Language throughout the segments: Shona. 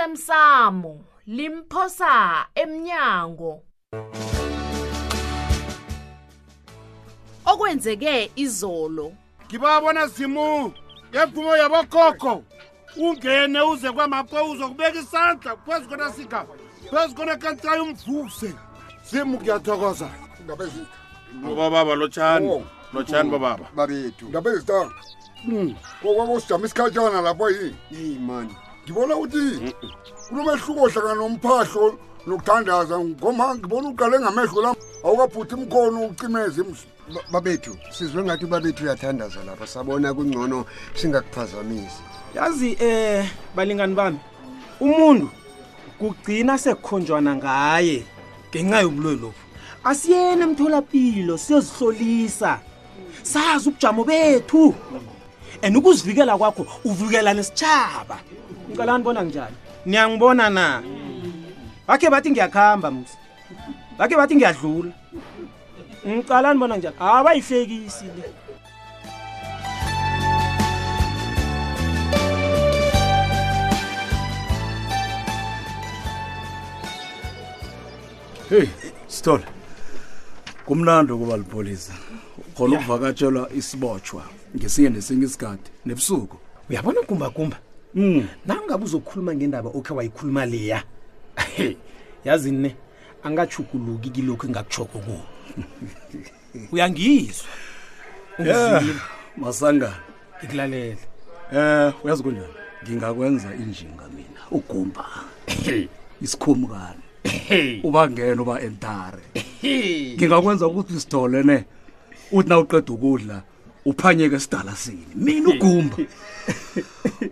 osemsamo limphosa emnyango okwenzeke izolo ngibabona zimu ngemvumo yabokhokho ungene uze kwamapho uzokubeka isandla phezu kona sigaba phezu kona kantayo umvuse zimu ngiyathokoza ndaba ezitha ngoba baba lotshani Oh. lotshani bababa babethu ndaba ezitha kokwako usijama isikhatshana lapha yini eyi mani ngibona ukuthi kunomehluko ohlangana nomphahlo nokuthandaza ngoma ngibona uqale ngamehlo lam awukabhuthi mkhono ucimeze emzi Ba- babethu sizwe ngathi ubabethu uyathandaza lapha sabona kungcono singakuphazamisi yazi eh balingani bami umuntu kugcina sekukhonjwana ngaye ngenxa yobuloyi lobu asiyena emtholapilo siyozihlolisa sazi ubujamo bethu and ukuzivikela kwakho uvikela nesitshaba ngicalani bona njani niyangibona na bakhe bathi ngiyakuhamba msi bakhe bathi ngiyadlula ngicalani bona njani abayihlekisi le hey sithole kumnandi ukuba lipolisa khona ukuvakatshelwa isibotshwa ngesinye nesinye isikhathi nebusuku uyabona kumbakumba Mm. nangabe uzokhuluma ngendaba okhe wayikhuluma leya He, yazi ne angachuguluki kilokhu engakutshoko kuwo uyangizwa ungizile masangana ngikulalele um uyazi kunjani ngingakwenza injinga mina ugumba isikhumukane ubangena uba entare ngingakwenza ukuthi sithole ne uthi na uqeda ukudla uphanyeke esidalasini mina ugumba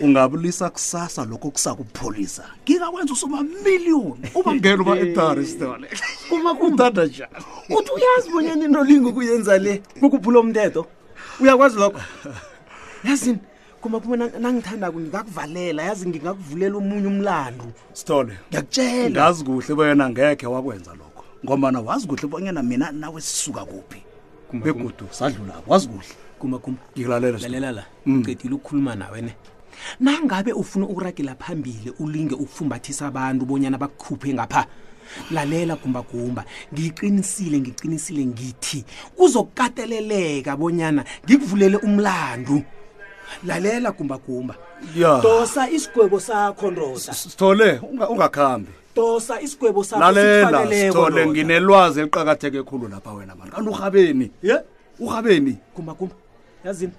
ungabulisa kusasa lokho kusakupholisa ngingakwenza usumamiliyoni ubangena uba entare sithole umakuthanda njani uthi uyazi bonyana inolinga ukuyenza le kukuphula umnteto uyakwazi lokho yazini kumaphuma nangithandako ngingakuvalela yazi ngingakuvulela omunye umlando sithole ngiyakutshela ngazi kuhle bonyana ngekhe wakwenza lokho ngomana wazi kuhle bonyana mina nawe sisuka kuphi begudu sadlula wazi kuhle kumagumba ngikulalela Sithole. lalela la Mm. ngicedile ukukhuluma nawe ne nangabe ufuna ukuragela phambili ulinge ukufumbathisa abantu bonyana bakukhuphe ngapha lalela gumbagumba ngiqinisile ngiqinisile ngithi kuzokukateleleka bonyana ngikuvulele umlandu lalela gumbagumba Ya. dosa isigwebo sakho ndoda sithole unga- ungakhambi dosa isigwebo sakho lalela sikufaneleko, sithole ndoda. nginelwazi eliqakatheke khulu lapha wena mani kanti urhabeni ye urhabeni gumbagumba yazini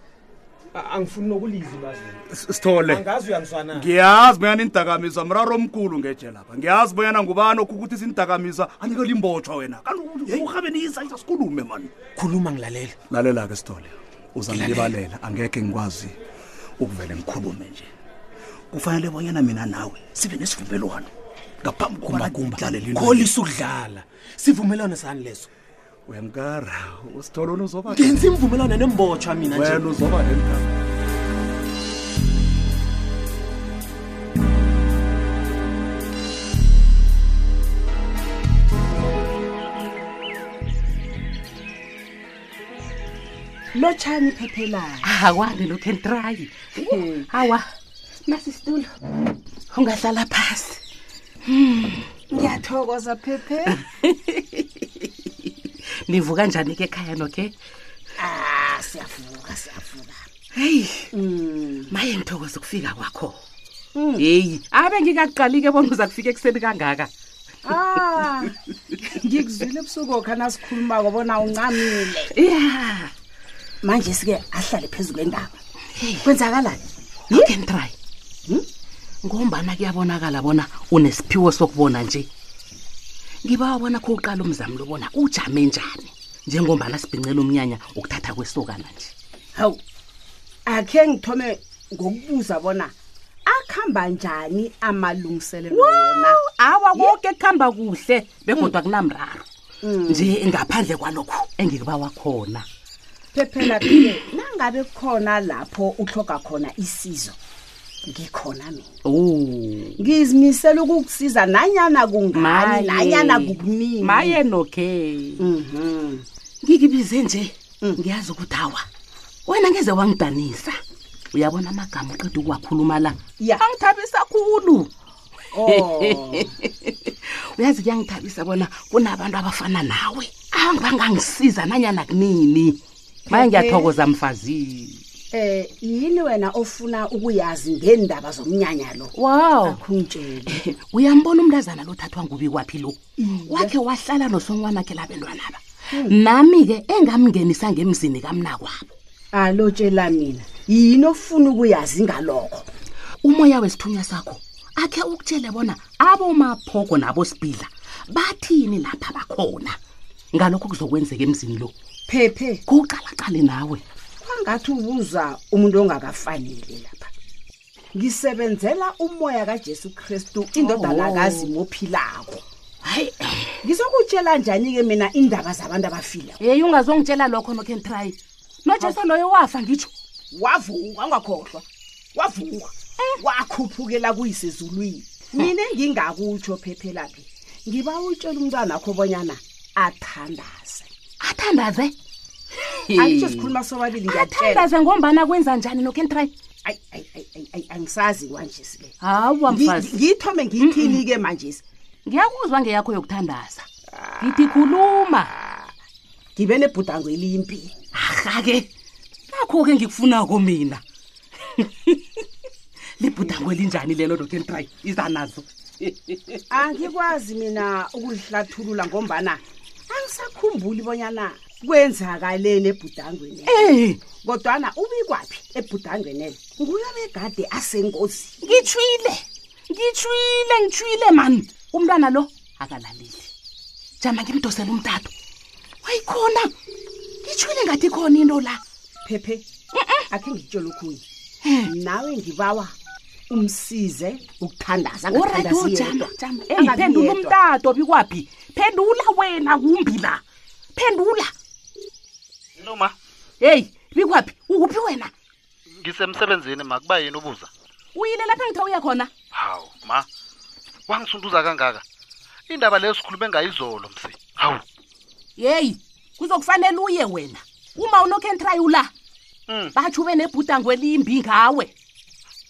a- angifuni nokulizwi ngazi S- sithole angazi uyangizwana ngiyazi bonyana indakamizwa mraro omkhulu ngeje lapha ngiyazi bonyana ngubani okukuthi sindakamizwa anikele imbotshwa wena kanti urhabeni yisa sikhulume mani khuluma ngilalela lalela ke sithole uzangilibalela angeke ngikwazi ukuvele ngikhulume nje kufanele bonyana mina nawe sibe nesivumelwano ngaphambi kholisa ukudlala sivumelwano sani leso uyangikara usithole wena uzoba ngenza imvumelwano nembotshwa mina nje wena uzoba nemgama lotshani iphephelayo akwani lokhu entrayi Hmm. hawa nasisitulo ungahlala phasi ngiyathokoza phephe nivuka njani ke ekhaya noke ah siyavuka siyavuka Hmm. heyi maye ngithokoza ukufika kwakho heyi abe ngingaqali ke bona uza kufika ekuseni kangaka ah ngikuzwile ebusuku okhana sikhuluma kobona uncamile ya manje sike ahlale phezulu kwendaba kwenzakalani lokhu entrayi Hmm? ngombana kuyabonakala bona unesiphiwo sokubona nje ngiba wabona kho uqala umzami lobona ujame njani njengombana sibhincela umnyanya ukuthatha kwesokana nje hawu akhe ngithome ngokubuza bona akuhamba njani amalungiselelo wona Hmm. awa konke kuhamba kuhle begodwa kunamraro nje ngaphandle kwalokho engikuba wakhona phephela phile nangabe kukhona lapho uhloga khona isizo ngikhona mina o ngizimisela ukukusiza nanyana kungani nanyana kukuningi maye nokhe Mhm. ngikibize nje ngiyazi ukuthi awa wena ngeze wangidanisa uyabona amagama uqeda ukuwakhuluma la Ya. angithabisa khulu Oh. uyazi kuyangithabisa bona kunabantu abafana nawe abangangisiza nanyana kunini maye ngiyathokoza mfazini Eh yini wena ofuna ukuyazi ngendaba zomnyanya lo? wow Akhungitshele. uyambona umntazana lothathwa ngubi kwaphi lo wakhe wahlala nosonwanakhe labentwanaba nami-ke engamngenisa ngemzini kamnakwabo Alotshela mina. Yini ofuna ukuyazi ngalokho? umoya wesithunywa sakho akhe ukutshele bona abomaphogo nabosibhidla bathini lapha bakhona ngalokho kuzokwenzeka emzini lo Phephe, kuqalaqale nawe kwangathi ubuza umuntu ongakafanele lapha. Ngisebenzela umoya kaJesu Kristu indodana kazimo philako. hayi eh, Ngizokutshela njani ke mina indaba zabantu abafile? yeyi ungazongitshela lokho nokhen try nojesu loyo wafa ngitsho Wavuka angakhohlwa. Wavuka. Eh. Wakhuphukela kuyisezulwini. Mina engingakutsho phephela phi. Ngiba utshela umntwana wakho bonyana athandaze. athandaze Angisho sikhuluma sobabili ngiyatshela. athandaze ngombana kwenza njani nokhen try Ay ay ay ay, ay angisazi kanje sike. hawa mfazi Ngithome ngiyithini ke manje? ngiyakuzwa ngeyakho yokuthandaza ngithi khuluma Ngibe nebhudango elimpi. aha-ke nakho-ke ngikufunako mina libhudango elinjani lelo dokentrayi iza nazo Angikwazi mina ukulihlathulula ngombana angisakhumbuli bonyana kwenzakaleni ebhudangweni. Eh, kodwana ubikwaphi ebhudangwenele nguyo begade asengozini ngitshwile ngitshwile ngitshwile mani umntwana lo akalaleli jama ngimdosela umtato wayikhona ngitshwile ngathi khona into la phephe akhe ngitshela okhunye nawe ngibawa umsize ukuthandaza orit angathandazi ojama yedwa. jama Angabi phendula yedwa. umtato bikwaphi phendula wena kumbi la phendula noma heyi bikwaphi ukuphi wena ngisemsebenzini makuba yini ubuza uyile lapha engithe uye khona hawu ma wangisunduza kangaka indaba leyo sikhulume ngayizolo msi hawu yeyi kuzokufanele uye wena uma unokhentrayi ula Mm. batsho ube nebhudango elimbi ngawe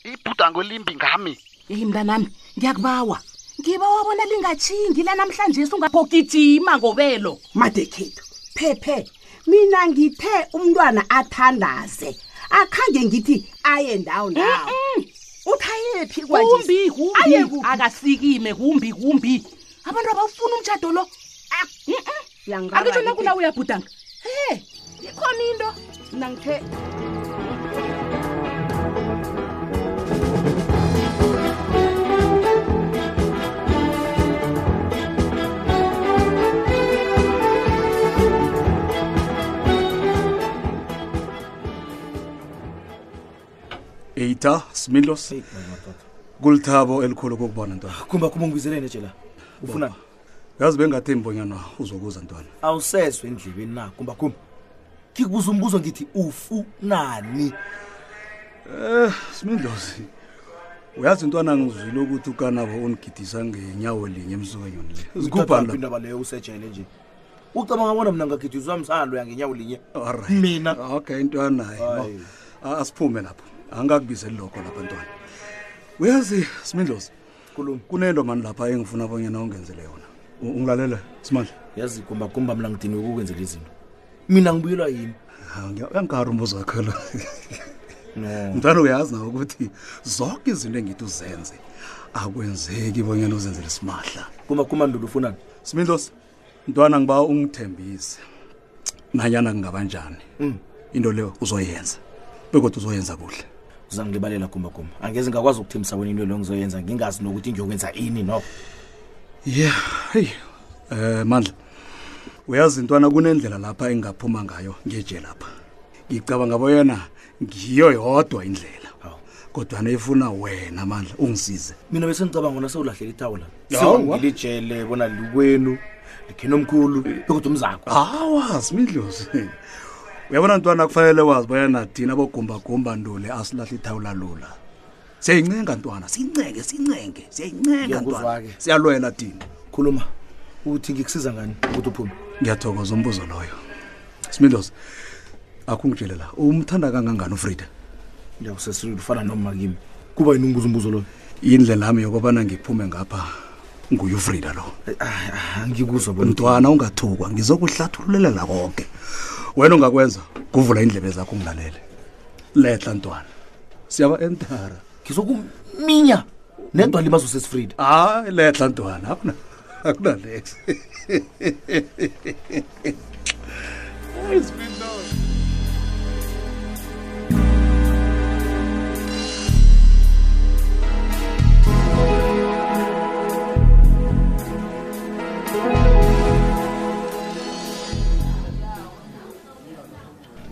ibhudango limbi ngami yeyi mntanami ngiyakubawa ngibawa bona lingatshingi lanamhlanje sungaphokijima ngobelo madekhethu phephe mina ngithe umntwana athandaze akhange ngithi aye ndawo ndawo uthayephi kwanje kumbi kumbi Aye kuphi? akasikime kumbi kumbi abantu abawufuna umtshado lo akitsho nakula uyabhudanga he ikhona into mna ngithe eita smilos kulithabo elikhulu kokubona ntwana kumba kumba ngibizelene nje la ufuna yazi bengathembi bonyana uzokuza ntwana awusezwe endlebeni na kumba kumba ngikubuza umbuzo ngithi ufunani smidlozi uyazi ntwana ngizwile ukuthi ukanabo unigidisa ngenyawo linye emsukanyoni le Uthatha zikubhala indaba leyo usejele nje ucabanga bona mna ngagidizwa msalo yangenyawo linye Alright. Mina. okay ntwana hayi, no. Hayi. A- asiphume lapho angakubizeli lokho lapha ntwana uyazi smidlozi khuluma kunento mani lapha engifuna bonyana ungenzele yona U- ungilalela simandla yazi kumba kumba mna ngidiniwe ukukwenza lezi zinto mina ngibuyelwa yini Ah, ngiya- uyangikari umbuzo wakho lo no mntwana uyazi nawe ukuthi zonke izinto engithi uzenze akwenzeki bonyana uzenzele simahla kumba kumba ndulu ufunani smidlos mntwana ngiba ungithembise nanyana kungabanjani into leyo uzoyenza bekodwa uzoyenza kuhle uzangilibalela kumba kumba angeze ngakwazi ukuthembisa wena into leyo ngizoyenza ngingazi nokuthi ngiyokwenza ini no ye heyi um mandla uyazi ntwana kunendlela lapha engingaphuma ngayo ngeje lapha ngicabanga boyena ngiyo yodwa indlela Hawu. kodwana ifuna wena mandla ungisize mina bese ngicabanga ona sewulahlela itawula Hawa. sewungilijele bona likwenu likheni omkhulu bekodwa umzakho hawa smidlozi uyabona ntwana kufanele wazi boyana thina bogumbagumba ndule asilahla ithawula lula siyayincenga ntwana siyincenge siyincenge siyayincenga ntwana Ngiyakuzwa-ke. siyalwela thina khuluma uthi ngikusiza ngani ukuthi uphume ngiyathokoza umbuzo loyo smidlozi akungitshele la umthanda kangangani ufrida ndiyakusesirile ufana noma kimi kuba yini ungibuza umbuzo loyo indlela yami yokubana ngiphume ngapha nguye ufrida lo angikuzwa bona mntwana ungathukwa ngizokuhlathululela konke wena ongakwenza kuvula indlebe zakho ungilalele letla ntwana siyaba entara ngizokuminya nedwa limazo sesifrida hayi letla ntwana akuna akunalex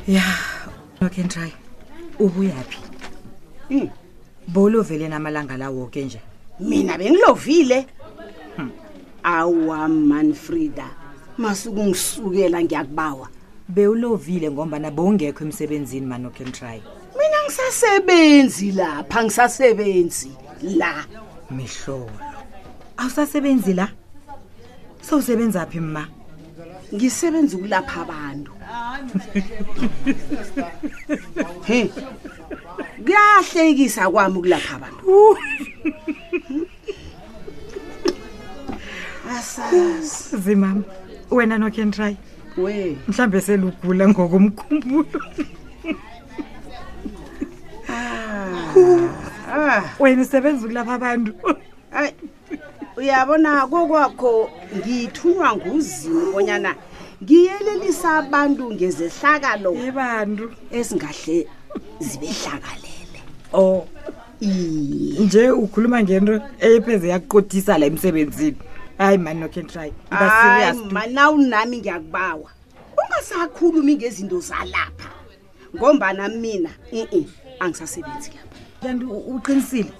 ya okay ntray ubuyaphi bowulovele namalanga lawo ke nje mina bengilovile awa manfrida masukungisukela ngiyakubawa bewulovile ngombana bowungekho emsebenzini manokentry mina ngisasebenzi lapha ngisasebenzi la mihlolo awusasebenzi la sowusebenza phi ma ngisebenza ukulapha abantu He. kuyahlekisa kwami ukulapha abantu asazi zimama wena nokentry we mhlawumbe selugula ngokomkhumbulo Ah, wena usebenza ukulapha abantu Ay, uyabona kokwakho ngithunywa nguzimu bonyana ngiyelelisa abantu ngezehlakalo ebantu ezingahle zibehlakalele o nje ukhuluma ngento eyepheze yakuqothisa la emsebenzini hayi mani nokentry hayi manawu nami ngiyakubawa ungasakhulumi ngezinto zalapha ngombana mina i-i angisasebenzi lapha kanti u- uqinisile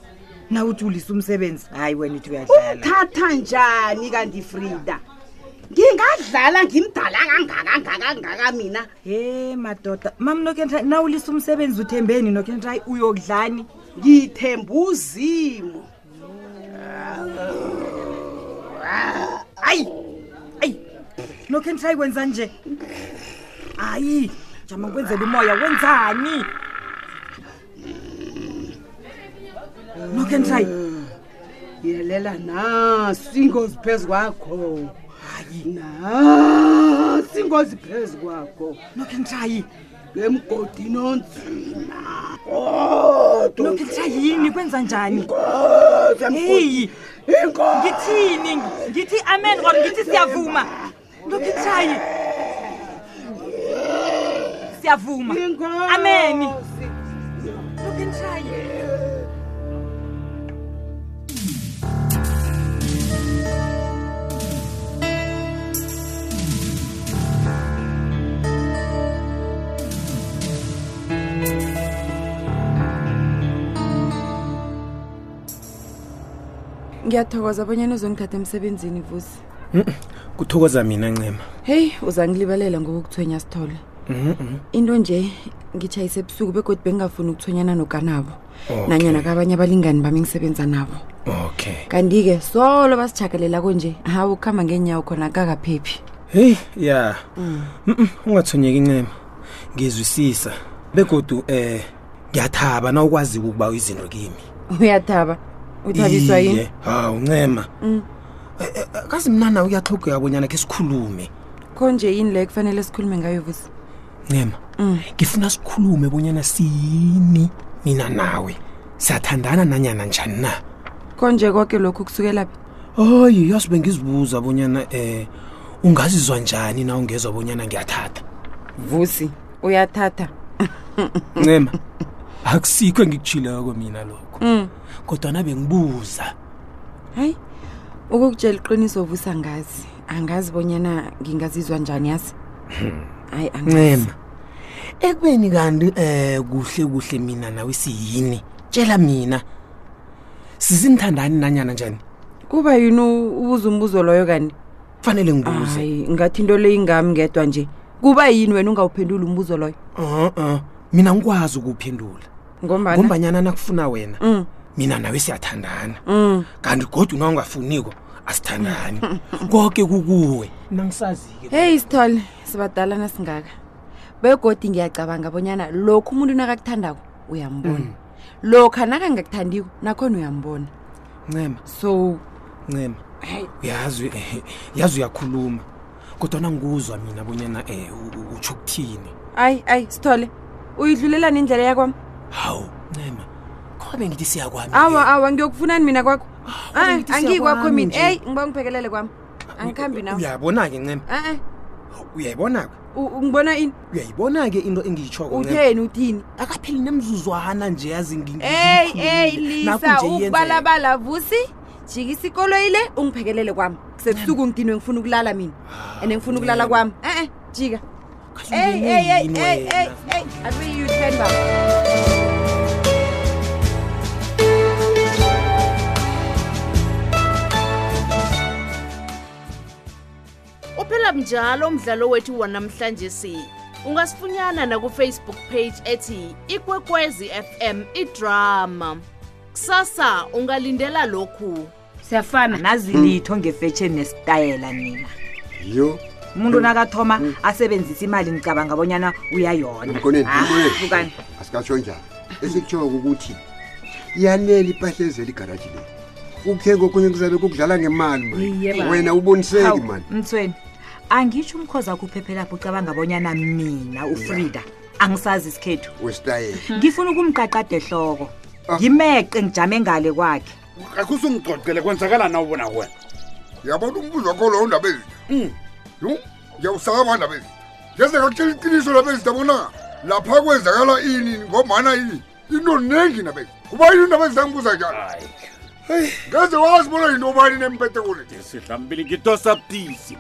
na uthi ulisa umsebenzi hayi wena uthi uyadlala uthatha njani kanti frida ngingadlala ngimdala kangaka ngaka ngaka mina he madoda mam nokentry na ulisa umsebenzi uthembeni nokentry uyokudlani ngithemba uzimo hayi ayi nokentry wenza nje hayi jama kwenzela umoya wenzani nokentry yelela nasi ingozi phezu kwakho nasi ingozi phezu kwakho nokentry emgodini onzima Oh, nokentry yini kwenza njani heyi ingozi ngithini ngithi amen or ngithi siyavuma nokentry siyavuma amen nokentry ngiyathokoza abanyana uzongithatha emsebenzini vusi kuthokoza mina ncema heyi uzangilibalela ngokukuthwenya sithole Mhm. into nje ngitshayise ebusuku begodwa bengingafuni ukuthonyana nokanabo Okay. nanyona kabanye abalingani bami engisebenza nabo okay kanti-ke solo basitshagalelako nje hawu ukuhamba ngeenyawo khona kakaphephi heyi ya Mm. Mm-mm, ungathonyeki ncema ngizwisisa begodu eh ngiyathaba na ukwazi ukuba izinto kimi uyathaba uthabiswa yini Iye, hawu ncema Eh, Mm. kazi mnana uyahlogeka bonyana ke sikhulume konje yini leyo kufanele sikhulume ngayo Mm. vusi ncema ngifuna sikhulume bonyana siyini mina nawe siyathandana nanyana njani na konje konke lokhu kusukela phi hayi yazi bengizibuza bonyana eh ungazizwa njani na ungezwa bonyana ngiyathatha vusi uyathatha ncema akusikho engikutshileko mina lokho mm. kodwana bengibuza hayi ukukutshela iqiniso vusa ngazi angazi bonyana ngingazizwa njani yazi hayi Hmm. angazi ncema ekubeni kanti eh kuhle kuhle mina nawe siyini tshela mina sizinthandani nanyana njani kuba yini u- ubuza umbuzo loyo kani kufanele ngibuze. hayi ngathi into leyo ingami ngedwa nje kuba yini wena ungawuphenduli umbuzo loyo uh-uh mina ngikwazi ukuwuphendula ngombana ngombanyana nakufuna wena Mm. mina nawe siyathandana Mm. kanti godwa una ungafuniko asithandani konke kukuwe nangisazi-ke heyi sithole sibadala nasingaka begodi ngiyacabanga bonyana lokhu umuntu nakakuthandako uyambona lokhu anakangakuthandiko nakhona uyambona ncema so ncema Hey. uyazi eh, yazi uyakhuluma kodwana ngikuzwa mina bonyana um utsho ukuthini ayi ayi sithole uyidlulelani indlela yakwami hawu ncema khoba bengithi siyakwami awa awa ngiyokufunani mina kwakho Ah, ngithi angiyikwakho siyakwami mina nje. eyi ngiba ngiphekelele kwami angikhambi nawe Ah, uyabona-ke ncema e-e uyayibona-ke ngibona ini uyayibona-ke into engiyitshoko utheni uthini akapheli nemzuzwana nje yazi ngi- eyi ngiyikhulumile. eyi Nakhu lisa nje iyenzeka. ukubalabala vusi jikisa ikoloyi le ungiphekelele kwami kusebusuku ngidinwe ngifuna ukulala mina and ngifuna ukulala kwami e-e jika eyi eyi eyi ungenwe eyi yini eyi eyi abeyuthenba uphela mnjalo umdlalo wethu wanamhlanje si ungasifunyana nakufacebook page ethi ikwekwezi fm idrama kusasa ungalindela lokhu siyafana nazi Mm. litho ngefetsheni nesitayela nina yo umuntu nakathoma asebenzisa imali ngicabanga bonyana uyayona mkoneni Ah, mkoneni. bukani. asikatsho njalo esikutshoko ukuthi iyalela impahla ezela igaraji le ukuthenga okunye kuzabe kukudlala ngemali Iye, mani baba. wena uboniseki Hawu, mani mtsweni angitsho umkhoza kuphephela pho ucabanga bonyana mina ufrida angisazi isikhethu wesitayela ngifuna ukumqaqada ehloko ngimeqe ngijame ngale kwakhe akusungixoxele kwenzakala na ubona wena yabona umbuzo wakho lowo ndaba Mm. ezinto yo ngiyawusakaba ndaba ezinto ngezekakutshela iqiniso ndaba ezinto abona lapha kwenzakala ini ngomana ini into ningi ndaba ezinto kuba yini indaba ezizangibuza njalo ngeze wazi bona yinto obani nempete kule sihlambile ngitosa butisi